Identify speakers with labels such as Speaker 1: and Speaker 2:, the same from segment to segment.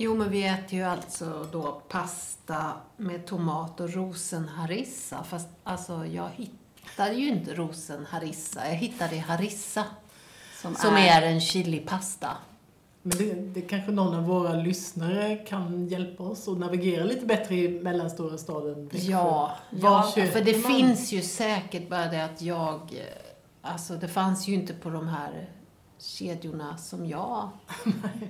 Speaker 1: Jo, men vi äter ju alltså då pasta med tomat och rosenharissa. Fast alltså, jag hittade ju inte rosenharissa. Jag hittade harissa, som, är... en chilipasta.
Speaker 2: Men det, det kanske någon av våra lyssnare kan hjälpa oss att navigera lite bättre i mellanstora staden Växjö.
Speaker 1: Ja,
Speaker 2: Var
Speaker 1: ja
Speaker 2: köper
Speaker 1: för det
Speaker 2: man?
Speaker 1: finns ju säkert bara det att jag... eh, Alltså, det fanns ju inte på de här kedjorna som jag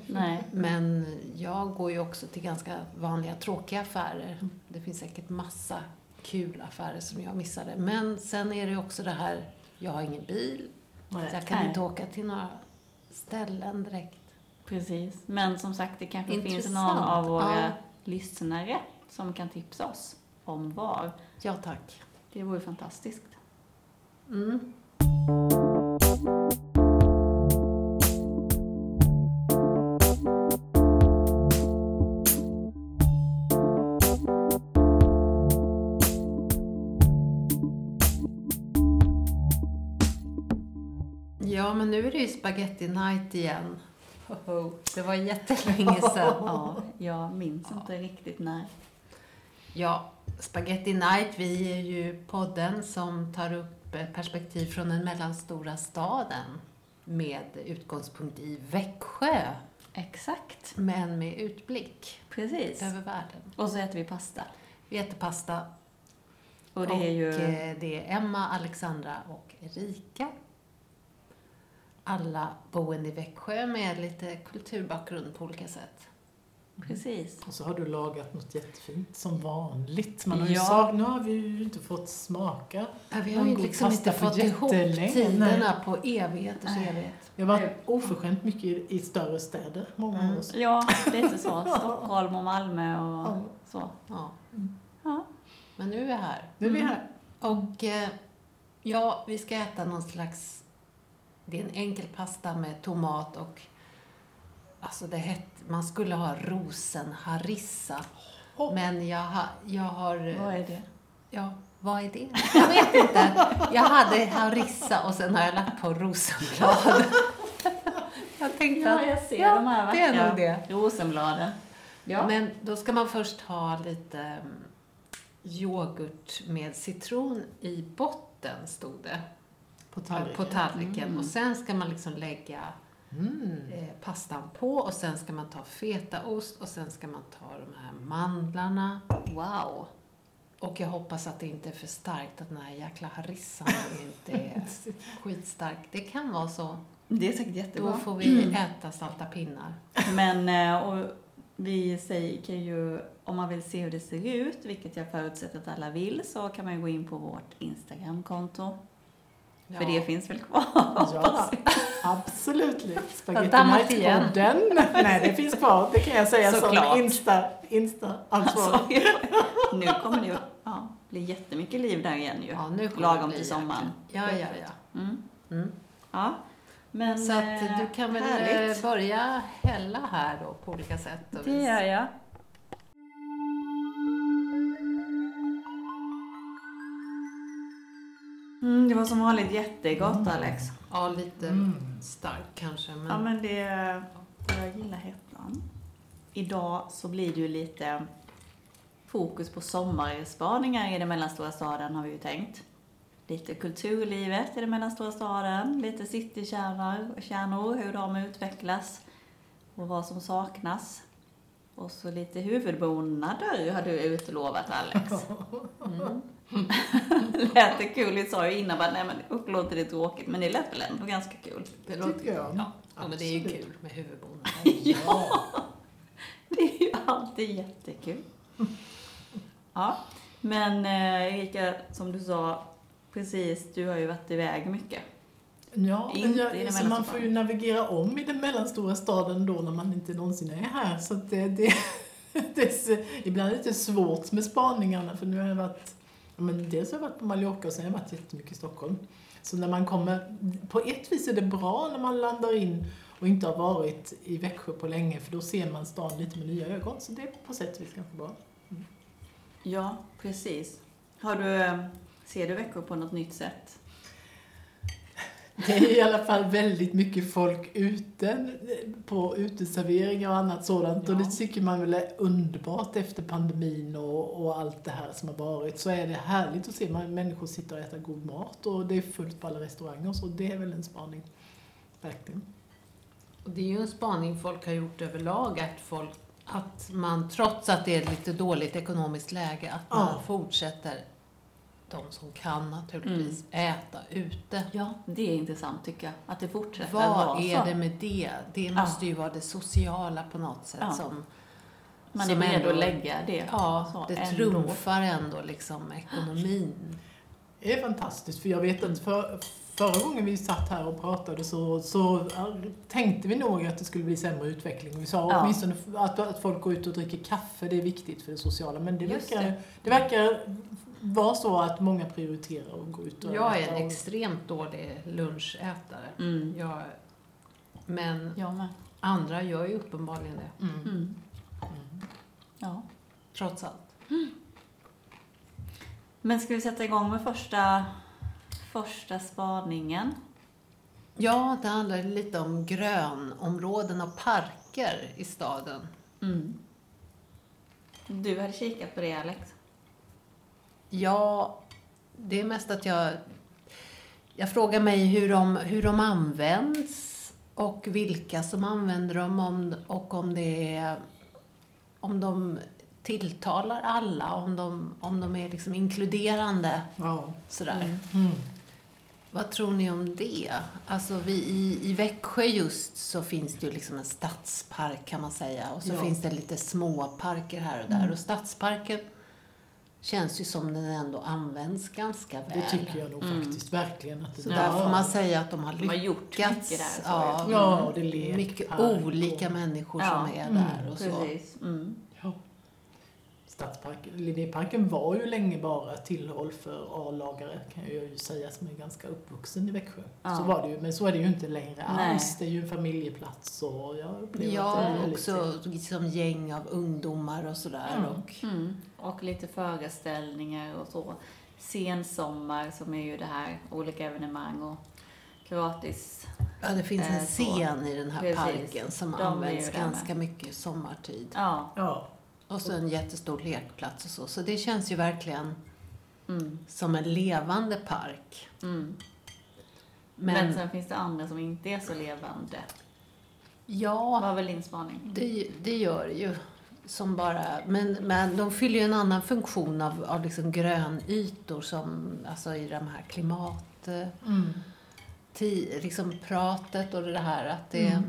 Speaker 3: Nej.
Speaker 1: Men jag går ju också till ganska vanliga tråkiga affärer. Det finns säkert massa kul affärer som jag missade. Men sen är det också det här, jag har ingen bil. Så
Speaker 2: Nej.
Speaker 1: jag kan
Speaker 3: Nej.
Speaker 1: inte åka till några ställen direkt.
Speaker 3: Precis. Men som sagt, det kanske finns någon
Speaker 1: Intressant.
Speaker 3: av våra
Speaker 1: Ja.
Speaker 3: lyssnare som kan tipsa oss om var.
Speaker 1: Ja tack.
Speaker 3: Det vore fantastiskt.
Speaker 1: Mm. Ja, men nu är det ju spaghetti night igen. Ho, ho. Det var jättelänge sedan.
Speaker 3: Ja, jag minns inte riktigt när.
Speaker 1: Ja, Spaghetti Night, vi är ju podden som tar upp eh, perspektiv från den mellanstora staden med utgångspunkt i Växjö,
Speaker 3: Exakt.
Speaker 1: men med utblick
Speaker 3: Precis.
Speaker 1: över världen.
Speaker 3: Och så äter vi pasta.
Speaker 1: Vi äter pasta
Speaker 3: Och det är ju...
Speaker 1: eh, det är Emma, Alexandra och Erika. Alla boende i Växjö med lite kulturbakgrund på olika sätt.
Speaker 3: Precis.
Speaker 2: Och så har du lagat något jättefint som vanligt. Man har ju
Speaker 3: Ja.
Speaker 2: sagt, nu har vi ju inte fått smaka.
Speaker 1: Ja, vi har
Speaker 2: Man
Speaker 1: ju
Speaker 2: går
Speaker 1: liksom
Speaker 2: pasta
Speaker 1: inte
Speaker 2: för
Speaker 1: fått ihop
Speaker 2: jättelänge.
Speaker 1: tiderna på evigheters evighet.
Speaker 2: Jag har varit oförskämt mycket i, i större städer, många
Speaker 1: Mm.
Speaker 2: av oss.
Speaker 3: Ja, lite så. Stockholm och Malmö och
Speaker 2: Ja.
Speaker 3: så.
Speaker 1: Ja.
Speaker 3: Ja.
Speaker 1: Men nu är vi här.
Speaker 2: Nu är vi här.
Speaker 1: Och eh, ja, vi ska äta någon slags... Det är en enkel pasta med tomat och... Alltså det hette... Man skulle ha rosenharissa.
Speaker 2: Åh.
Speaker 1: Men jag, ha, jag har... eh,
Speaker 3: Vad är det?
Speaker 1: Ja, vad är det? Jag vet inte. Jag hade harissa och sen har jag lagt på rosenblad. Jag tänkte
Speaker 3: Ja,
Speaker 1: att...
Speaker 3: jag ser
Speaker 1: ja,
Speaker 3: de här
Speaker 1: det är
Speaker 3: vackra
Speaker 1: nog det.
Speaker 3: rosenbladen. Ja.
Speaker 1: Men då ska man först ha lite mm, yoghurt med citron i botten, stod det.
Speaker 2: På
Speaker 1: på
Speaker 2: tallriken.
Speaker 1: tallriken.
Speaker 3: Mm.
Speaker 1: Och sen ska man liksom lägga
Speaker 2: Mm.
Speaker 1: eh, pastan på och sen ska man ta fetaost och sen ska man ta de här mandlarna.
Speaker 3: Wow.
Speaker 1: Och jag hoppas att det inte är för starkt, att den här jäkla harissan inte är skitstark. Det kan vara så.
Speaker 3: Det är säkert
Speaker 1: Då
Speaker 3: jättebra.
Speaker 1: får vi äta salta pinnar.
Speaker 3: Men eh, och vi säger, kan ju, om man vill se hur det ser ut, vilket jag förutsätter att alla vill, så kan man ju gå in på vårt Instagramkonto.
Speaker 1: Ja.
Speaker 3: För det finns väl kvar?
Speaker 2: Ja, absolut. Spaghetti
Speaker 1: dammat
Speaker 2: Night-podden. Nej, det finns kvar. Det kan jag säga
Speaker 3: Såklart.
Speaker 2: som Insta, Insta ansvarig.
Speaker 3: Alltså, nu kommer det ju ja, bli jättemycket liv där igen ju.
Speaker 1: Ja, nu kommer det
Speaker 3: Lagom
Speaker 1: bli
Speaker 3: till sommaren.
Speaker 1: Ja, ja, ja.
Speaker 3: Mm.
Speaker 1: Mm.
Speaker 3: Ja. Men,
Speaker 1: Så
Speaker 3: eh,
Speaker 1: att du kan väl
Speaker 3: härligt.
Speaker 1: eh, börja hälla här då på olika sätt och
Speaker 3: Det
Speaker 1: vis.
Speaker 3: gör jag. Mm, det var som vanligt jättegott
Speaker 1: Mm.
Speaker 3: Alex.
Speaker 1: Ja, lite
Speaker 2: Mm.
Speaker 1: stark kanske. Men...
Speaker 3: Ja men det... Jag gillar hettan. Idag så blir det ju lite fokus på sommarspaningar i den mellanstora staden har vi ju tänkt. Lite kulturlivet i den mellanstora staden, lite citykärnor, kärnor, hur de utvecklas och vad som saknas. Och så lite huvudbonader har du utlovat Alex.
Speaker 1: Mm.
Speaker 3: lät det kul? Vi sa ju innan bara, nej men usch låter det tråkigt, men det lät väl ändå ganska kul.
Speaker 1: Det
Speaker 2: Tycker jag.
Speaker 1: Ja, ja men det är ju
Speaker 2: Absolut.
Speaker 1: kul med huvudbonad.
Speaker 2: Ja.
Speaker 3: Det är ju alltid jättekul. Ja, men eh, Erika, som du sa precis, du har ju varit iväg mycket.
Speaker 2: Ja,
Speaker 3: Inte
Speaker 2: men
Speaker 3: i den
Speaker 2: jag, så man
Speaker 3: mellanstora
Speaker 2: får ju navigera om i den mellanstora staden då när man inte någonsin är här. Så att det, det, det är så, ibland är det lite svårt med spaningarna för nu har jag varit, ja, men dels har jag varit på Mallorca och sen har jag varit jättemycket i Stockholm. Så när man kommer, på ett vis är det bra när man landar in och inte har varit i Växjö på länge för då ser man stan lite med nya ögon. Så det är på sätt och vis ganska bra.
Speaker 3: Ja, precis. Har du, eh, ser du veckor på något nytt sätt?
Speaker 2: Det är i alla fall väldigt mycket folk ute på uteserveringar och annat sådant. Och
Speaker 3: Ja.
Speaker 2: det tycker man väl är underbart efter pandemin och, och allt det här som har varit. Så är det härligt att se man, människor sitta och äta god mat och det är fullt på alla restauranger och så. Det är väl en spaning. Verkligen.
Speaker 1: Och det är ju en spaning folk har gjort överlag, att, folk, att man trots att det är ett lite dåligt ekonomiskt läge, att man
Speaker 2: Ja.
Speaker 1: fortsätter, de som kan naturligtvis,
Speaker 3: Mm.
Speaker 1: äta ute.
Speaker 3: Ja, det är intressant tycker jag. Att det fortsätter
Speaker 1: Vad är
Speaker 3: så.
Speaker 1: det med det? Det
Speaker 3: Ja.
Speaker 1: måste ju vara det sociala på något sätt
Speaker 3: Ja.
Speaker 1: som...
Speaker 3: Man är
Speaker 1: som
Speaker 3: beredd
Speaker 1: ändå-
Speaker 3: att lägga det.
Speaker 1: Ja,
Speaker 3: så
Speaker 1: det
Speaker 3: ändå.
Speaker 1: trumfar ändå liksom ekonomin.
Speaker 2: Det är fantastiskt, för jag vet att för, förra gången vi satt här och pratade så, så ja, tänkte vi nog att det skulle bli sämre utveckling. Vi sa
Speaker 3: Ja.
Speaker 2: åtminstone att, att folk går ut och dricker kaffe, det är viktigt för det sociala. Men det
Speaker 3: Just
Speaker 2: verkar, det.
Speaker 3: det.
Speaker 2: verkar vara så att många prioriterar att gå ut och
Speaker 1: Jag är
Speaker 2: äta
Speaker 1: en
Speaker 2: och-
Speaker 1: extremt dålig lunchätare.
Speaker 3: Mm.
Speaker 1: Jag, men
Speaker 3: Jag med.
Speaker 1: andra gör ju uppenbarligen det,
Speaker 2: mm.
Speaker 3: Mm.
Speaker 2: Mm.
Speaker 3: Ja.
Speaker 1: trots allt.
Speaker 3: Men ska vi sätta igång med första, första spaningen?
Speaker 1: Ja, det handlar lite om grönområden och parker i staden. Mm.
Speaker 3: Du hade kikat på det Alex?
Speaker 1: Ja, det är mest att jag... Jag frågar mig hur de, hur de används och vilka som använder dem om, och om det är... Om de tilltalar alla, om de, om de är liksom inkluderande.
Speaker 2: Ja.
Speaker 1: Sådär.
Speaker 2: Mm.
Speaker 1: Vad tror ni om det? Alltså vi, i, I Växjö just så finns det ju liksom en stadspark kan man säga och så
Speaker 2: Ja. Mm.
Speaker 1: finns det lite småparker här och där och stadsparken känns ju som den ändå används ganska väl.
Speaker 2: Det tycker jag nog faktiskt, verkligen. Att det
Speaker 1: Mm. Så
Speaker 2: Ja.
Speaker 1: där får man säga att de har
Speaker 3: De har gjort
Speaker 1: lyckats.
Speaker 3: mycket där, så
Speaker 1: ja,
Speaker 3: jag.
Speaker 2: Ja, och det Mm, är
Speaker 1: mycket
Speaker 2: lekpark och-
Speaker 1: olika människor
Speaker 3: Ja,
Speaker 1: som är där och så.
Speaker 3: Precis. Mm.
Speaker 2: Ja. Stadsparken, Linnéparken var ju länge bara tillhåll för A-lagare kan jag ju säga som är ganska uppvuxen i Växjö.
Speaker 3: Ja.
Speaker 2: Så var det ju, men så är det ju inte längre
Speaker 3: Nej.
Speaker 2: alls. Det är ju en familjeplats och jag upplever att det
Speaker 1: Ja,
Speaker 2: är väldigt
Speaker 1: också som gäng av ungdomar och sådär.
Speaker 2: Mm.
Speaker 1: Och,
Speaker 3: Mm. Och lite föreställningar och så. Sensommar som är ju det här, olika evenemang och gratis.
Speaker 1: Ja, det finns
Speaker 3: Eh,
Speaker 1: en
Speaker 3: så.
Speaker 1: scen i den här
Speaker 3: Precis.
Speaker 1: parken som
Speaker 3: De är
Speaker 1: används
Speaker 3: ju där med.
Speaker 1: ganska mycket sommartid.
Speaker 3: Ja.
Speaker 2: Ja,
Speaker 1: Och så en jättestor lekplats och så. Så det känns ju verkligen
Speaker 3: Mm.
Speaker 1: som en levande park.
Speaker 3: Mm. Men,
Speaker 1: Men,
Speaker 3: sen finns det andra som inte är så levande.
Speaker 1: ja,
Speaker 3: Var väl din spaning?
Speaker 1: det, det gör det ju. Som bara, men, men de fyller ju en annan funktion av, av liksom grönytor som, alltså i de här klimat... eh,
Speaker 2: mm.
Speaker 1: ti, liksom pratet och det här att det,
Speaker 2: Mm.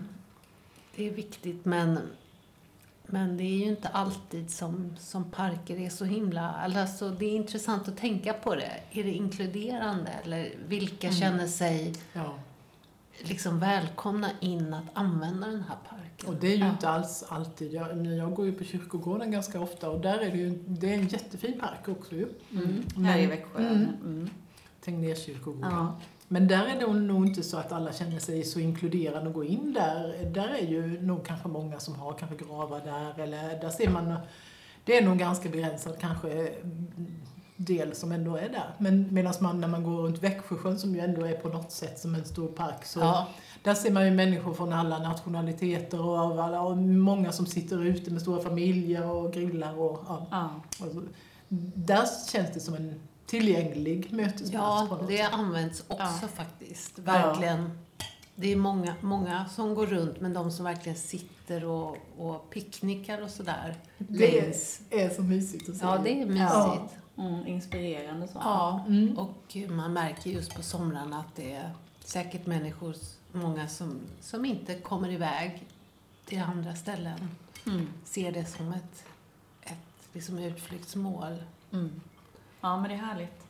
Speaker 1: det är viktigt men, men det är ju inte alltid som, som parker är så himla... eller Alltså det är intressant att tänka på det. Är det inkluderande eller vilka
Speaker 2: Mm.
Speaker 1: känner sig
Speaker 2: ja.
Speaker 1: liksom välkomna in att använda den här parken?
Speaker 2: Och det är ju
Speaker 3: Ja.
Speaker 2: inte alls alltid, jag, men jag går ju på kyrkogården ganska ofta och där är det ju, det är en jättefin park också ju.
Speaker 3: Mm.
Speaker 2: Men-
Speaker 3: Här i Växjö.
Speaker 2: Mm.
Speaker 3: Mm.
Speaker 2: Tegnérkyrkogården.
Speaker 3: Ja.
Speaker 2: Men där är det nog inte så att alla känner sig så inkluderande och går in där. Där är ju nog kanske många som har kanske gravar där eller där ser man Det är nog ganska begränsad kanske mm, del som ändå är där. Men medan man när man går runt Växjösjön som ju ändå är på något sätt som en stor park så
Speaker 1: Ja.
Speaker 2: där ser man ju människor från alla nationaliteter och av alla och många som sitter ute med stora familjer och grillar och ja.
Speaker 3: Ja.
Speaker 2: Alltså, där känns det som en tillgänglig mötesplats på
Speaker 1: Ja,
Speaker 2: något
Speaker 1: det används också
Speaker 3: Ja.
Speaker 1: faktiskt. Verkligen. Det är många, många som går runt, men de som verkligen sitter och, och picknickar och sådär
Speaker 2: Det är,
Speaker 1: längs.
Speaker 2: är så mysigt att se.
Speaker 1: Ja, det är mysigt.
Speaker 2: Ja.
Speaker 3: Mm. Inspirerande så.
Speaker 1: Ja,
Speaker 2: Mm.
Speaker 1: och man märker just på somrarna att det är säkert människor, många som, som inte kommer iväg till andra ställen,
Speaker 3: Mm.
Speaker 1: ser det som ett, ett liksom utflyktsmål.
Speaker 3: Mm. Ja, men det är härligt.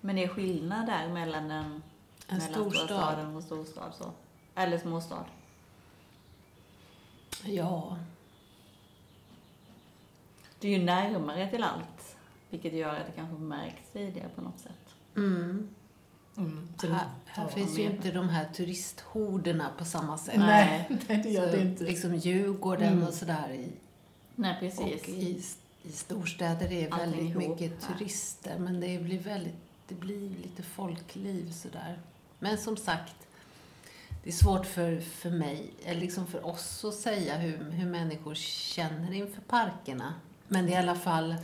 Speaker 3: Men det är skillnad där mellan den
Speaker 1: En
Speaker 3: mellan stora
Speaker 1: storstad.
Speaker 3: staden och storstad så. Eller småstad.
Speaker 1: Ja,
Speaker 3: Det är ju närmare till allt. Vilket gör att det kanske märks tidigare på något sätt.
Speaker 1: mm.
Speaker 2: Mm. Sen-
Speaker 1: här, här
Speaker 2: ja.
Speaker 1: finns ju inte de här turisthorderna på samma sätt.
Speaker 2: Nej, nej, det gör
Speaker 1: Så,
Speaker 2: det inte.
Speaker 1: Liksom Djurgården
Speaker 2: Mm.
Speaker 1: och sådär. I,
Speaker 3: Nej,
Speaker 1: och
Speaker 3: precis.
Speaker 1: i, i storstäder är det
Speaker 3: Allting
Speaker 1: väldigt
Speaker 3: ihop
Speaker 1: mycket
Speaker 3: här.
Speaker 1: turister, men det blir väldigt det blir lite folkliv sådär. Men som sagt, det är svårt för, för mig, eller liksom för oss att säga hur, hur människor känner inför parkerna. Men det är i alla fall,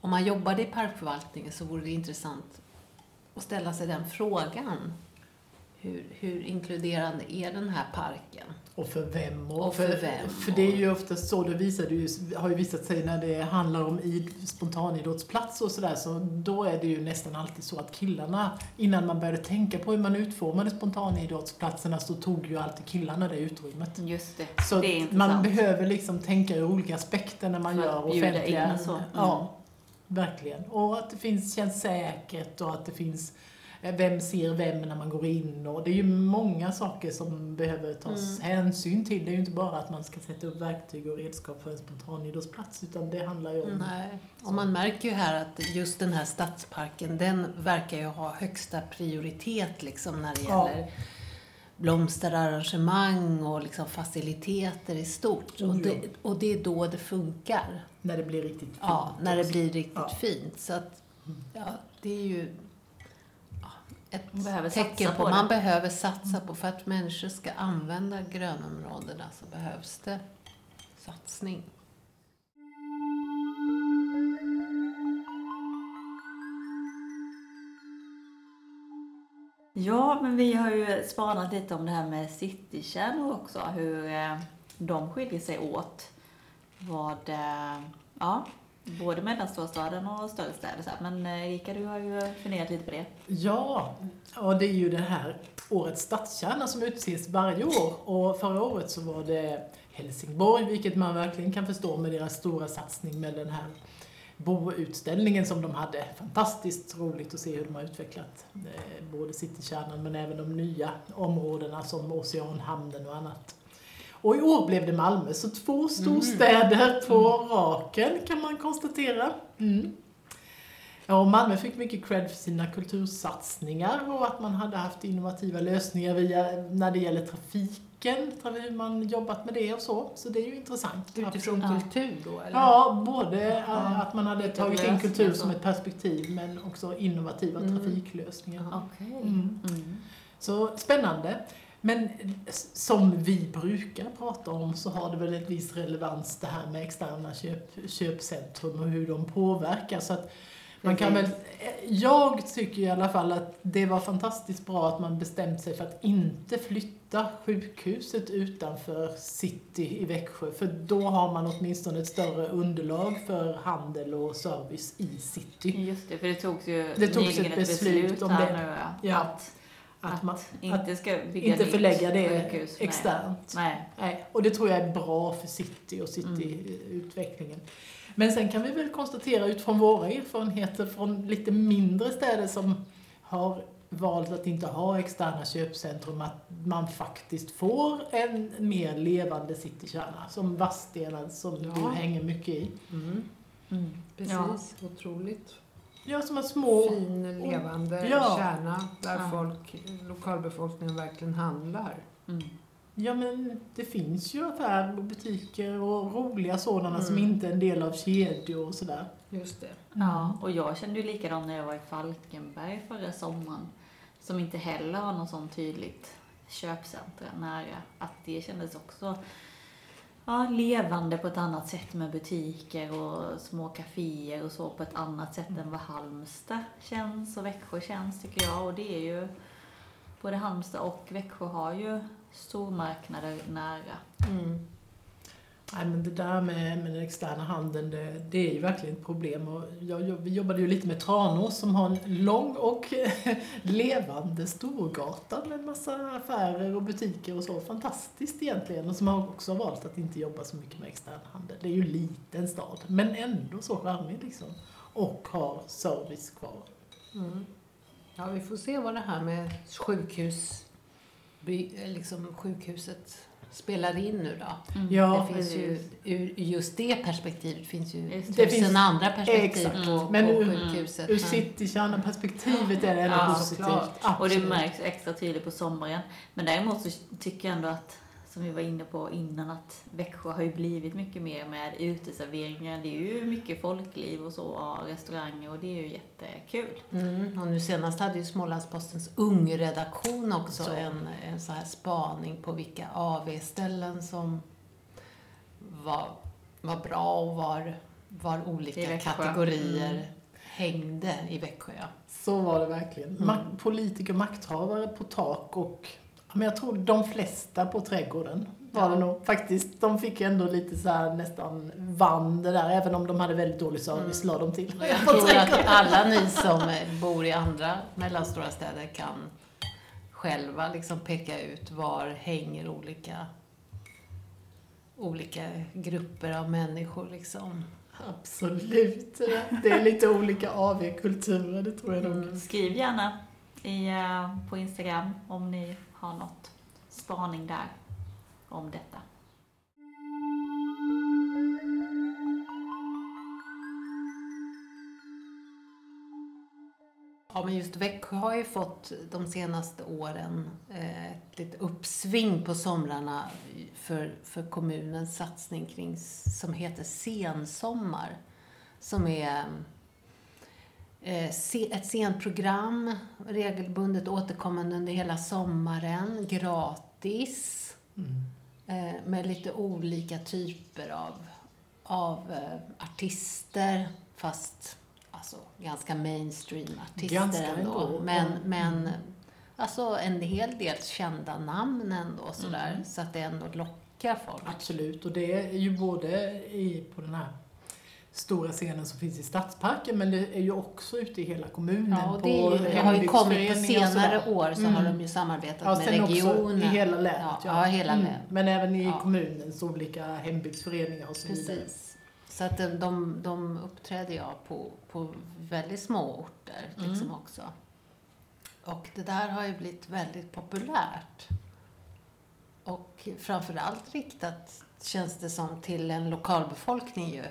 Speaker 1: om man jobbade i parkförvaltningen så vore det intressant att ställa sig den frågan. Hur, hur inkluderande är den här parken?
Speaker 2: Och för vem?
Speaker 1: Och för vem?
Speaker 2: För det är ju oftast så, det visar det ju, har ju visat sig när det handlar om i spontanidrottsplatser och sådär, så då är det ju nästan alltid så att killarna, innan man började tänka på hur man utformade spontanidrottsplatserna, så tog ju alltid killarna det utrymmet.
Speaker 3: Just det,
Speaker 2: Så
Speaker 3: det är
Speaker 2: att man
Speaker 3: intressant.
Speaker 2: behöver liksom tänka ur olika aspekter när man
Speaker 3: För att
Speaker 2: gör
Speaker 3: bjuda in
Speaker 2: offentliga...
Speaker 3: och så. Mm.
Speaker 2: Ja, verkligen. Och att det finns, känns säkert och att det finns eh, vem ser vem när man går in och det är ju många saker som behöver
Speaker 1: Mm.
Speaker 2: tas hänsyn till. Det är ju inte bara att man ska sätta upp verktyg och redskap för en spontanidrottsplats utan det handlar ju om...
Speaker 1: Nej. Mm. Och man märker ju här att just den här stadsparken, den verkar ju ha högsta prioritet liksom när det
Speaker 2: Ja.
Speaker 1: gäller blomsterarrangemang och liksom faciliteter i stort.
Speaker 2: Oh,
Speaker 1: Och
Speaker 2: ja.
Speaker 1: det, och det är då det funkar.
Speaker 2: När det blir riktigt fint.
Speaker 1: Ja, Mm. när det
Speaker 2: också.
Speaker 1: blir riktigt
Speaker 2: Ja.
Speaker 1: fint. Så att, ja, det är ju ja, ett
Speaker 3: Man behöver
Speaker 1: tecken på,
Speaker 3: satsa
Speaker 1: Mm.
Speaker 3: på det.
Speaker 1: man behöver satsa på. För att människor ska använda grönområdena så behövs det satsning.
Speaker 3: Ja, men vi har ju spanat lite om det här med citykärnor också, hur eh, de skiljer sig åt. Vad, eh, ja, både mellanstora staden och större städer. Så här. Men eh, Erika, du har ju funderat lite på det.
Speaker 2: Ja, och det är ju det här årets stadskärna som utses varje år. Och förra året så var det Helsingborg, vilket man verkligen kan förstå med deras stora satsning med den här boutställningen som de hade. Fantastiskt roligt att se hur de har utvecklat eh, både citykärnan men även de nya områdena som Oceanhamnen och annat. Och i år blev det Malmö, så två storstäder på raken kan man konstatera. Mm. Ja, och Malmö fick mycket cred för sina kultursatsningar och att man hade haft innovativa lösningar via, när det gäller trafiken, tra- hur man jobbat med det och så. Så det är ju intressant.
Speaker 1: Utifrån
Speaker 3: Ja.
Speaker 1: kultur då, eller?
Speaker 2: Ja, både eh, att man hade
Speaker 3: Vilka
Speaker 2: tagit in kultur
Speaker 3: lösningar
Speaker 2: som
Speaker 3: så.
Speaker 2: ett perspektiv men också innovativa
Speaker 1: Mm.
Speaker 2: trafiklösningar.
Speaker 3: Okej.
Speaker 2: Mm.
Speaker 3: Mm.
Speaker 2: Så spännande. Men s- som vi brukar prata om så har det väl en viss relevans det här med externa köp, köpcentrum och hur de påverkar. Så att man kan väl, eh, jag tycker i alla fall att det var fantastiskt bra att man bestämt sig för att inte flytta sjukhuset utanför city i Växjö. För då har man åtminstone ett större underlag för handel och service i city.
Speaker 3: Just det, för det togs ju
Speaker 2: Det togs
Speaker 3: nyligen
Speaker 2: ett beslut om
Speaker 3: här
Speaker 2: det.
Speaker 3: nu, ja.
Speaker 2: Ja.
Speaker 3: Att,
Speaker 2: Att man att
Speaker 3: inte ska bygga
Speaker 2: inte
Speaker 3: nytt
Speaker 2: förlägga det
Speaker 3: sjukhus. Nej.
Speaker 2: externt.
Speaker 3: Nej.
Speaker 2: Nej, och det tror jag är bra för city och cityutvecklingen. Men sen kan vi väl konstatera utifrån våra erfarenheter från lite mindre städer som har valt att inte ha externa köpcentrum att man faktiskt får en mer levande citykärna som Vadstena som
Speaker 1: Ja.
Speaker 2: du hänger mycket i.
Speaker 1: Mm,
Speaker 3: Mm.
Speaker 1: precis, otroligt.
Speaker 2: Ja, som har små...
Speaker 1: fin, levande
Speaker 2: Ja.
Speaker 1: kärna där
Speaker 3: Ja.
Speaker 1: folk, lokalbefolkningen verkligen handlar.
Speaker 3: Mm.
Speaker 2: Ja, men det finns ju affärer och butiker och roliga sådana som
Speaker 1: Mm.
Speaker 2: inte är en del av kedjor och sådär.
Speaker 1: Just det.
Speaker 3: Ja, och jag kände ju likadant när jag var i Falkenberg förra sommaren. Som inte heller har något sånt tydligt köpcentra nära. Att det kändes också ja, levande på ett annat sätt med butiker och små kaféer och så på ett annat sätt än vad Halmstad känns och Växjö känns tycker jag. Och det är ju, både Halmstad och Växjö har ju stormarknader nära.
Speaker 1: Mm.
Speaker 2: Nej, men det där med, med den externa handeln, det, det är ju verkligen ett problem. Och jag, jag, vi jobbade ju lite med Tranås som har en lång och levande storgata med en massa affärer och butiker och så. Fantastiskt egentligen. Och som har också valt att inte jobba så mycket med extern handel. Det är ju en liten stad, men ändå så charmig liksom. Och har service kvar.
Speaker 1: Mm. Ja, vi får se vad det här med sjukhus, by, eh, liksom sjukhuset spelar in nu då.
Speaker 3: Mm.
Speaker 2: Ja,
Speaker 1: det finns ju,
Speaker 3: precis.
Speaker 1: ur just det perspektivet finns ju
Speaker 3: Just
Speaker 1: tusen
Speaker 2: det. Det finns-
Speaker 1: andra perspektiv
Speaker 2: exakt.
Speaker 1: på,
Speaker 2: Men
Speaker 1: på
Speaker 2: ur-
Speaker 1: sjukhuset.
Speaker 2: Ur
Speaker 1: men-
Speaker 2: citykärnan-perspektivet är det ändå
Speaker 1: Ja,
Speaker 2: positivt.
Speaker 1: såklart.
Speaker 3: Och det
Speaker 2: Absolut.
Speaker 3: märks extra tydligt på sommaren. Men däremot så tycker jag ändå att som vi var inne på innan, att Växjö har ju blivit mycket mer med uteserveringar. Det är ju mycket folkliv och så, och restauranger och det är ju jättekul.
Speaker 1: Mm, och nu senast hade ju Smålandspostens ungredaktion också
Speaker 3: Så.
Speaker 1: en, en så här spaning på vilka AV-ställen som var, var bra och var, var
Speaker 3: I
Speaker 1: olika
Speaker 3: Växjö.
Speaker 1: kategorier
Speaker 3: Mm.
Speaker 1: hängde i Växjö. ja.
Speaker 2: Så var det verkligen.
Speaker 1: Mm.
Speaker 2: Mak- politiker, makthavare på tak och ja, men jag tror de flesta på trädgården var
Speaker 1: Ja.
Speaker 2: det nog faktiskt. De fick ju ändå lite så här nästan vann det där, även om de hade väldigt dålig service
Speaker 1: Mm.
Speaker 2: la de till.
Speaker 1: Och jag tror att alla ni som bor i andra mellanstora städer kan själva liksom peka ut var hänger olika, olika grupper av människor. Liksom.
Speaker 2: Absolut. Det är lite olika AV-kulturer, det tror jag nog.
Speaker 1: Mm.
Speaker 3: Skriv gärna i, eh, på Instagram om ni har något spaning där om detta.
Speaker 1: Ja, men just Växjö har ju fått de senaste åren eh, ett litet uppsving på somrarna för, för kommunens satsning kring, s- som heter Sensommar. Som är eh, se- ett scenprogram, regelbundet återkommande under hela sommaren, gratis.
Speaker 2: Mm.
Speaker 1: Eh, med lite olika typer av, av eh, artister, fast alltså, ganska mainstream artister
Speaker 2: Ganska
Speaker 1: ändå.
Speaker 2: ändå,
Speaker 1: Men,
Speaker 2: ja. Mm.
Speaker 1: men alltså, en hel del kända namn ändå sådär,
Speaker 2: Mm.
Speaker 1: så att det ändå lockar folk.
Speaker 2: Absolut, och det är ju både i, på den här stora scenen som finns i Stadsparken, men det är ju också ute i hela kommunen.
Speaker 1: Ja, och det,
Speaker 2: på
Speaker 1: är ju- det har ju kommit på
Speaker 2: hembygdsföreningar och sådär.
Speaker 1: senare år så har
Speaker 2: Mm.
Speaker 1: de ju samarbetat
Speaker 2: Ja,
Speaker 1: med
Speaker 2: sen också i
Speaker 1: regionen.
Speaker 2: hela länet. Mm.
Speaker 1: Ja, ja, hela länet.
Speaker 2: Men även i
Speaker 1: Ja.
Speaker 2: kommunens olika hembygdsföreningar och så vidare.
Speaker 1: Precis. Så att de, de, de uppträder jag på, på väldigt små orter liksom
Speaker 3: Mm.
Speaker 1: också. Och det där har ju blivit väldigt populärt. Och framförallt riktat, känns det som, till en lokalbefolkning ju.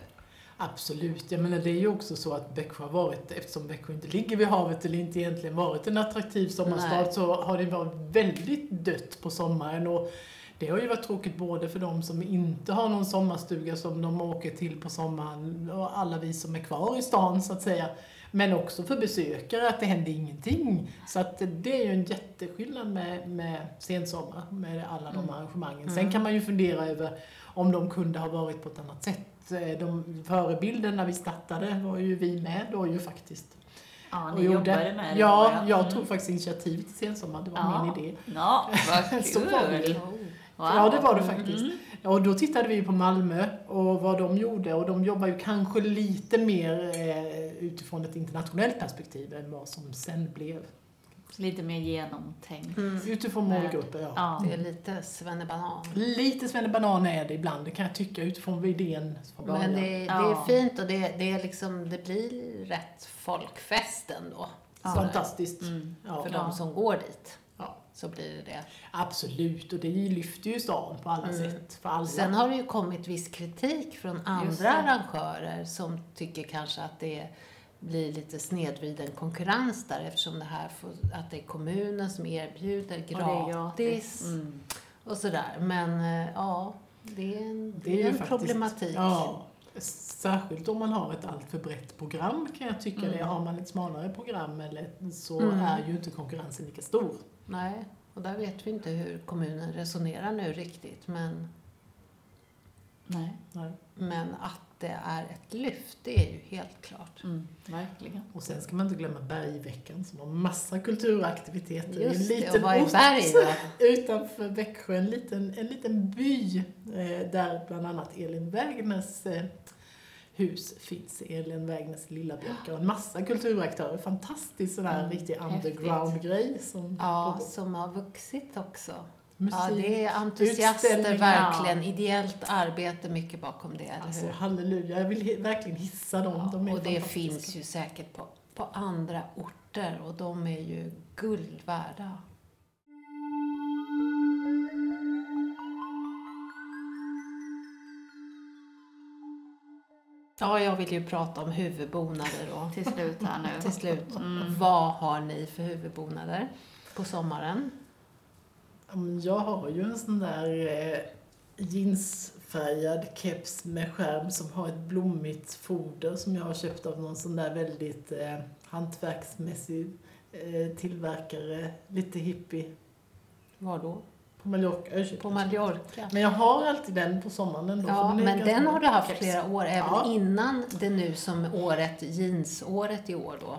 Speaker 2: Absolut, jag menar det är ju också så att Växjö har varit, eftersom Växjö inte ligger vid havet eller inte egentligen varit en attraktiv sommarstad
Speaker 1: Nej.
Speaker 2: så har det varit väldigt dött på sommaren och det har ju varit tråkigt både för de som inte har någon sommarstuga som de åker till på sommaren och alla vi som är kvar i stan så att säga. Men också för besökare att det händer ingenting. Så att det är ju en jätteskillnad med, med sensommar, med alla de
Speaker 1: Mm.
Speaker 2: arrangemangen.
Speaker 1: Mm.
Speaker 2: Sen kan man ju fundera över om de kunde ha varit på ett annat sätt. Eh, De förebilden när vi startade var ju vi med då ju faktiskt.
Speaker 3: Ja,
Speaker 2: Och
Speaker 3: ni
Speaker 2: gjorde-
Speaker 3: jobbade med det
Speaker 2: Ja,
Speaker 3: då,
Speaker 2: jag
Speaker 3: Mm.
Speaker 2: tog faktiskt initiativ till sensommar, det var
Speaker 3: Ja.
Speaker 2: min idé.
Speaker 3: Ja, vad
Speaker 2: Så var det.
Speaker 3: kul! Wow.
Speaker 2: Ja, det var det faktiskt.
Speaker 3: Mm.
Speaker 2: Ja, Och då tittade vi ju på Malmö och vad de gjorde och de jobbar ju kanske lite mer eh, utifrån ett internationellt perspektiv än vad som sen blev.
Speaker 3: Lite mer genomtänkt.
Speaker 2: Utifrån
Speaker 3: Men-
Speaker 2: målgrupper, ja.
Speaker 3: Ja.
Speaker 1: Mm. Det är lite svennebanan.
Speaker 2: Lite svennebanan är det ibland, det kan jag tycka utifrån idén från början.
Speaker 1: Men det, det
Speaker 3: Ja.
Speaker 1: är fint och det, det, är liksom, det blir rätt folkfest ändå.
Speaker 3: Ja.
Speaker 2: Fantastiskt.
Speaker 3: Mm.
Speaker 2: Ja.
Speaker 1: För
Speaker 3: Ja.
Speaker 1: de som går dit.
Speaker 2: Ja.
Speaker 1: Så blir det det.
Speaker 2: Absolut, och det lyfter ju stan på alla
Speaker 1: Mm.
Speaker 2: sätt. För alla.
Speaker 1: Sen har det ju kommit viss kritik från
Speaker 3: Just
Speaker 1: andra
Speaker 3: det.
Speaker 1: arrangörer som tycker kanske att det blir lite snedvriden konkurrens där eftersom det här får, att det är kommunen som erbjuder
Speaker 3: Och det är
Speaker 1: gratis
Speaker 3: gratis. Mm.
Speaker 1: och sådär. Men eh, ja, det är en, det
Speaker 2: ju
Speaker 1: är en
Speaker 2: faktiskt-
Speaker 1: problematik.
Speaker 2: Ja, särskilt om man har ett alltför brett program kan jag tycka det.
Speaker 3: Mm.
Speaker 2: Har man ett smalare program eller, så
Speaker 1: Mm.
Speaker 2: är ju inte konkurrensen lika stor.
Speaker 1: Nej, och där vet vi inte hur kommunen resonerar nu riktigt. Men,
Speaker 3: Nej.
Speaker 2: Nej.
Speaker 1: men att det är ett lyft, det är ju helt klart.
Speaker 3: Mm. Verkligen.
Speaker 2: Och sen ska man inte glömma Bergveckan som har massa kulturaktiviteter. Det är en
Speaker 1: Just det, och
Speaker 2: liten
Speaker 1: vad är
Speaker 2: ort
Speaker 1: berg då?
Speaker 2: utanför Växjö, en liten, en liten by eh, där bland annat Elin Wägners eh, hus finns. Elin Wägners lilla björk och en massa kulturaktörer. Fantastisk sån här
Speaker 3: Mm,
Speaker 2: riktig
Speaker 3: häftigt.
Speaker 2: underground-grej. Som
Speaker 1: Ja,
Speaker 2: pågår.
Speaker 1: som har vuxit också.
Speaker 2: Musik.
Speaker 1: Ja, det är entusiaster
Speaker 2: utställningar.
Speaker 1: verkligen. Ideellt arbete mycket bakom det, eller
Speaker 2: Alltså
Speaker 1: hur?
Speaker 2: halleluja, jag vill he- verkligen hissa dem.
Speaker 1: Ja,
Speaker 2: de är
Speaker 1: och det
Speaker 2: fantastiska.
Speaker 1: finns ju säkert på, på andra orter och de är ju guld värda. Ja, jag vill ju prata om huvudbonader då.
Speaker 3: Till slut här nu.
Speaker 1: Till slut,
Speaker 3: Mm.
Speaker 1: vad har ni för huvudbonader på sommaren?
Speaker 2: Ja, men Jag har ju en sån där eh, jeansfärgad keps med skärm som har ett blommigt foder som jag har köpt av någon sån där väldigt eh, hantverksmässig eh, tillverkare, lite hippie,
Speaker 1: Var då?
Speaker 2: på Mallorca. Jag köpte
Speaker 1: På
Speaker 2: den.
Speaker 1: Mallorca.
Speaker 2: Men jag har alltid den på sommaren ändå.
Speaker 1: Ja,
Speaker 2: för är
Speaker 1: men
Speaker 2: ganska
Speaker 1: den har du haft
Speaker 2: keps.
Speaker 1: flera år, även
Speaker 2: Ja.
Speaker 1: innan det nu som året, jeansåret i år då.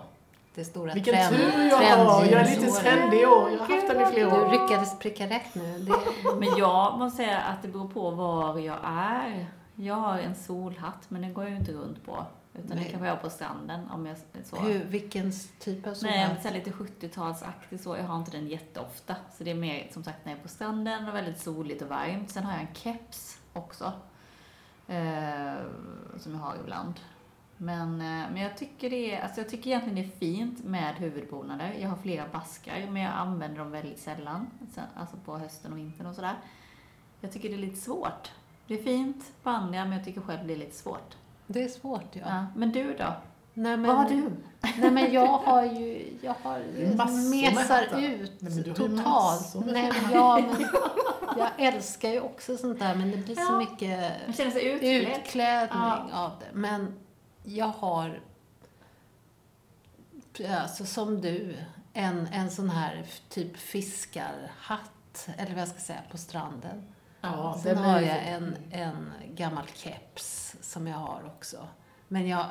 Speaker 1: Det stora
Speaker 2: Vilken
Speaker 1: trend,
Speaker 2: tur jag har! Jag är lite
Speaker 1: trendjeansåret.
Speaker 2: trendig i år. Jag har haft den i flera
Speaker 1: Du
Speaker 2: år.
Speaker 1: lyckades pricka rätt nu. Det,
Speaker 3: Men jag måste säga att det beror på var jag är. Jag har en solhatt, men den går jag ju inte runt på. Utan
Speaker 1: Nej.
Speaker 3: det kan jag ha på stranden om jag så.
Speaker 1: hur, vilken typ av
Speaker 3: Nej,
Speaker 1: solhatt?
Speaker 3: men så här lite 70-talsaktig så. Jag har inte den jätteofta. Så det är mer som sagt när jag är på stranden och väldigt soligt och varmt. Sen har jag en keps också. Eh, som jag har ibland. Men, eh, men jag, tycker det är, alltså jag tycker egentligen det är fint med huvudbonader. Jag har flera baskar men jag använder dem väldigt sällan. Sen, alltså på hösten och vintern och sådär. Jag tycker det är lite svårt. Det är fint på andra men jag tycker själv det är lite svårt.
Speaker 1: Det är svårt ja.
Speaker 3: Ja. men du då?
Speaker 1: Nej, men,
Speaker 3: Vad har du?
Speaker 1: Nej men jag har ju, jag har
Speaker 2: Massor med hattar.
Speaker 1: mesar ut
Speaker 2: Nej, men du har ju
Speaker 1: totalt.
Speaker 2: massor med
Speaker 1: Nej, men jag, men, jag älskar ju också sånt där men det blir så
Speaker 3: Ja.
Speaker 1: mycket
Speaker 3: Man känner sig utklädd.
Speaker 1: utklädning
Speaker 3: Ja.
Speaker 1: av det. Men jag har, alltså som du, en, en sån här f- typ fiskarhatt, eller vad jag ska säga, på stranden.
Speaker 2: Ja,
Speaker 1: Sen
Speaker 2: den är
Speaker 1: har
Speaker 2: ju-
Speaker 1: jag en, en gammal keps som jag har också. Men jag,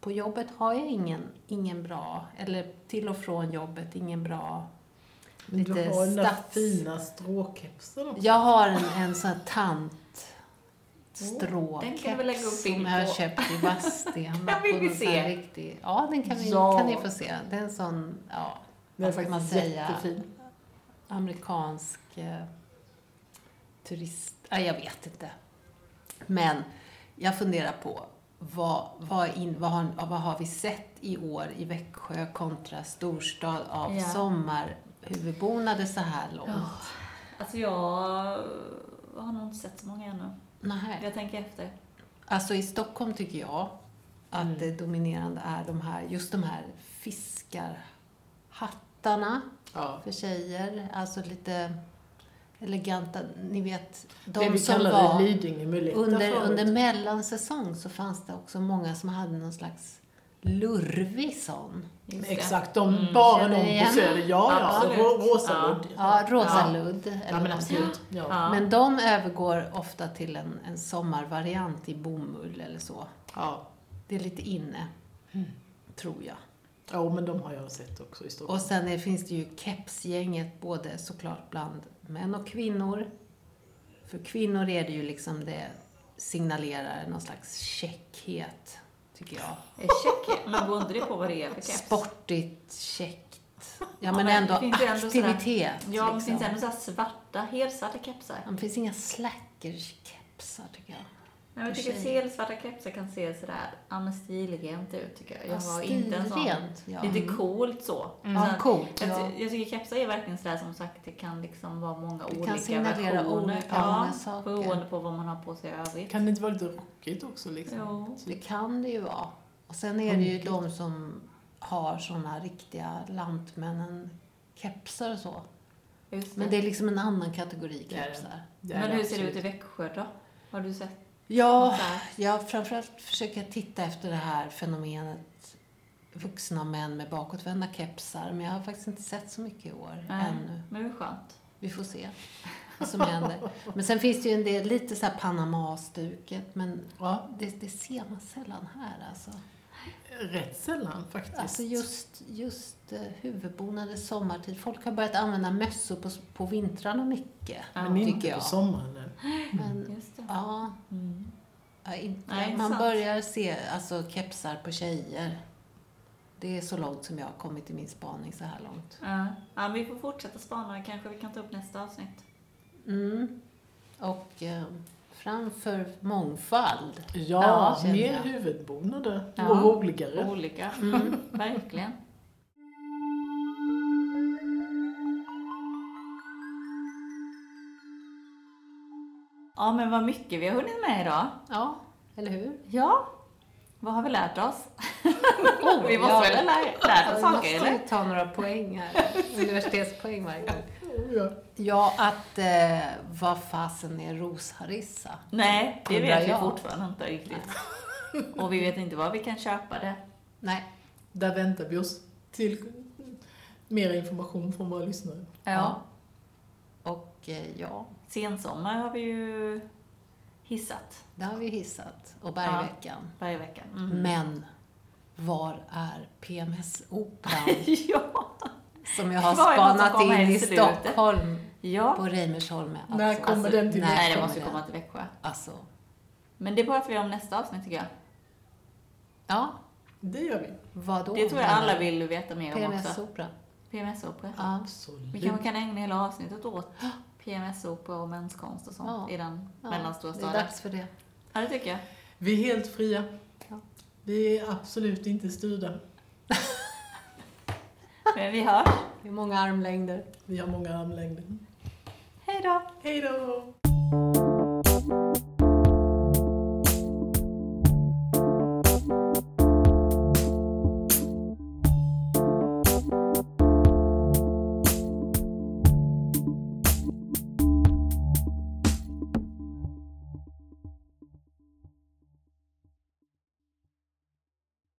Speaker 1: på jobbet har jag ingen, ingen bra, eller till och från jobbet, ingen bra
Speaker 2: Men du
Speaker 1: lite
Speaker 2: har den där
Speaker 1: stats-
Speaker 2: fina stråkepsen också.
Speaker 1: Jag har en, en sån här tant
Speaker 3: Oh, Den kan du väl lägga upp
Speaker 1: stråkeps som
Speaker 3: bild
Speaker 1: jag har
Speaker 3: på.
Speaker 1: köpt i Vadstena.
Speaker 3: Den vill
Speaker 1: på
Speaker 3: vi
Speaker 1: någon sån här
Speaker 3: se.
Speaker 1: Riktig, ja, den kan, vi,
Speaker 2: Ja.
Speaker 1: kan ni få se. Det är en sån, ja,
Speaker 2: Den är
Speaker 1: vad ska man
Speaker 2: faktiskt
Speaker 1: säga?
Speaker 2: jättefin.
Speaker 1: amerikansk eh, turist... Ja, jag vet inte. Men jag funderar på vad, vad, är in, vad, har, vad har vi sett i år i Växjö kontra storstad av
Speaker 3: Ja.
Speaker 1: sommarhuvudbonade så här långt?
Speaker 3: Ja. Alltså jag har nog inte sett så många ännu.
Speaker 1: Nej.
Speaker 3: Jag tänker efter.
Speaker 1: Alltså i Stockholm tycker jag att
Speaker 2: Mm.
Speaker 1: det dominerande är de här, just de här fiskarhattarna
Speaker 2: Ja.
Speaker 1: för tjejer. Alltså lite eleganta, ni vet,
Speaker 2: De det
Speaker 1: de
Speaker 2: vi
Speaker 1: som
Speaker 2: kallar
Speaker 1: var
Speaker 2: Lidingö
Speaker 1: under, under mellansäsong så fanns det också många som hade någon slags lurvig sån.
Speaker 3: Just det.
Speaker 2: Exakt, de,
Speaker 3: Mm.
Speaker 2: bara
Speaker 1: Mm. Känner
Speaker 2: de
Speaker 1: igen.
Speaker 2: på Söder. Ja, ja.
Speaker 3: Absolut.
Speaker 2: Rå- Rosaludd.
Speaker 1: Ja, rosa
Speaker 2: Ja.
Speaker 1: ludd. eller
Speaker 2: Ja, men
Speaker 1: något.
Speaker 2: absolut. Ja.
Speaker 3: Ja.
Speaker 1: Men de övergår ofta till en, en sommarvariant i bomull eller så.
Speaker 2: Ja.
Speaker 1: Det är lite inne,
Speaker 2: Mm.
Speaker 1: tror jag.
Speaker 2: ja, men de har jag sett också i Stockholm.
Speaker 1: Och sen är, finns det ju kepsgänget, både såklart bland män och kvinnor. För kvinnor är det ju liksom det signalerar någon slags käckhet, tycker jag.
Speaker 3: Eh, Check. Men beror inte det på vad det är för keps?
Speaker 1: Sportigt, käckt. Ja,
Speaker 3: Ja,
Speaker 1: men
Speaker 3: men
Speaker 1: ändå
Speaker 3: det finns ju ändå sådär-
Speaker 1: aktivitet.
Speaker 3: Ja, men det
Speaker 1: liksom.
Speaker 3: finns ändå så här svarta, helsvarta kepsar.
Speaker 1: Ja, det finns inga slackers-kepsar, tycker jag.
Speaker 3: Nej, men jag tycker att helsvarta kepsar kan se sådär, ja men stilrent ut tycker jag. Jag har inte en sån.
Speaker 1: Stilrent, Mm. ja.
Speaker 3: Lite coolt så.
Speaker 1: Ja,
Speaker 3: Sen-
Speaker 1: coolt.
Speaker 3: jag,
Speaker 1: Ja.
Speaker 3: ty- jag tycker kepsar är verkligen sådär som sagt, det kan liksom vara många
Speaker 1: Det kan
Speaker 3: olika
Speaker 1: signalera
Speaker 3: versioner.
Speaker 1: olika många
Speaker 3: ja,
Speaker 1: saker.
Speaker 3: beroende på vad man har på sig i övrigt.
Speaker 2: Kan det inte vara lite rockigt också? Liksom?
Speaker 3: Jo.
Speaker 1: Det kan det ju vara. Och sen är det ju de som har såna riktiga lantmännen-kepsar och så.
Speaker 3: Just det.
Speaker 1: Men det är liksom en annan kategori
Speaker 2: Det är det.
Speaker 1: kepsar.
Speaker 2: Det är
Speaker 3: Men hur ser det
Speaker 2: absolut.
Speaker 3: ut i Växjö då? Har du sett
Speaker 1: Ja,
Speaker 3: något där?
Speaker 1: jag framförallt försöker jag titta efter det här fenomenet vuxna män med bakåtvända kepsar, men jag har faktiskt inte sett så mycket i år
Speaker 3: Nej.
Speaker 1: ännu.
Speaker 3: Men det är skönt.
Speaker 1: Vi får se vad som händer. Men sen finns det ju en del, lite så här Panama-stuket, men
Speaker 2: Ja,
Speaker 1: det, det ser man sällan här alltså.
Speaker 2: rätt sällan faktiskt.
Speaker 1: Alltså just, just eh, huvudbonade sommartid. Folk har börjat använda mössor på, på vintrarna mycket,
Speaker 3: Ja,
Speaker 2: men
Speaker 1: tycker
Speaker 2: inte på
Speaker 1: jag.
Speaker 2: sommaren. än.
Speaker 1: Men,
Speaker 3: Just det.
Speaker 1: ja,
Speaker 3: Mm.
Speaker 1: Ja, inte.
Speaker 3: Nej,
Speaker 1: man
Speaker 3: sant.
Speaker 1: börjar se alltså, kepsar på tjejer. Det är så långt som jag har kommit i min spaning så här långt.
Speaker 3: Ja. ja, men vi får fortsätta spana. Kanske vi kan ta upp nästa avsnitt.
Speaker 1: Mm. Och eh, framför mångfald.
Speaker 2: Ja,
Speaker 1: Ja,
Speaker 2: mer
Speaker 1: känner jag.
Speaker 2: huvudbonader
Speaker 3: Ja. Mm.
Speaker 2: och roligare.
Speaker 3: Olika. Verkligen. Ja, men vad mycket vi har hunnit med idag.
Speaker 1: Ja, eller hur?
Speaker 3: Ja. Vad har vi lärt oss?
Speaker 1: Oh,
Speaker 3: vi måste
Speaker 1: ja.
Speaker 3: väl ha lä- lärt oss
Speaker 1: Vi
Speaker 3: saker,
Speaker 1: måste
Speaker 3: eller?
Speaker 1: ju ta några poäng här. Universitetspoäng varje gång.
Speaker 2: Oh, ja.
Speaker 1: Ja, att eh, vad fasen är rosharissa?
Speaker 3: Nej, det
Speaker 1: Undrar
Speaker 3: vet vi
Speaker 1: jag.
Speaker 3: fortfarande inte riktigt. Och vi vet inte var vi kan köpa det.
Speaker 1: Nej,
Speaker 2: Där väntar vi oss till mer information från våra lyssnare.
Speaker 3: Ja.
Speaker 1: Ja. och eh, ja,
Speaker 3: Sensommar har vi ju hissat
Speaker 1: det har vi hissat. Och bergveckan.
Speaker 3: varje vecka. Mm.
Speaker 1: Men var är PMS-operan
Speaker 3: ja.
Speaker 1: som jag har
Speaker 3: Var är den som
Speaker 1: spanat
Speaker 3: kommer
Speaker 1: in
Speaker 3: i
Speaker 1: i
Speaker 3: slutet?
Speaker 1: Stockholm
Speaker 3: ja.
Speaker 1: på Reimersholm? Alltså,
Speaker 2: När kommer den till
Speaker 1: när
Speaker 3: Nej, det
Speaker 1: kommer
Speaker 3: måste ju
Speaker 1: den?
Speaker 3: komma till Växjö.
Speaker 1: Alltså,
Speaker 3: Men det pratar vi om nästa avsnitt tycker jag.
Speaker 1: ja,
Speaker 2: Det gör vi.
Speaker 1: vadå?
Speaker 3: Det tror jag alla vill veta mer om också.
Speaker 1: PMS-opera.
Speaker 3: PMS-opera.
Speaker 1: Ja.
Speaker 3: Vi
Speaker 2: Absolut.
Speaker 3: kanske kan ägna hela avsnittet åt PMS-opera och menskonst och sånt
Speaker 1: Ja.
Speaker 3: i den
Speaker 1: Ja,
Speaker 3: mellanstora
Speaker 1: det är
Speaker 3: staden.
Speaker 1: dags för det.
Speaker 3: Ja, det tycker jag.
Speaker 2: Vi är helt fria.
Speaker 1: Ja.
Speaker 2: Vi är absolut inte styrda.
Speaker 3: Men vi hörs.
Speaker 1: Det är många armlängder.
Speaker 2: Vi har många armlängder.
Speaker 3: Hej då!
Speaker 2: Hej då!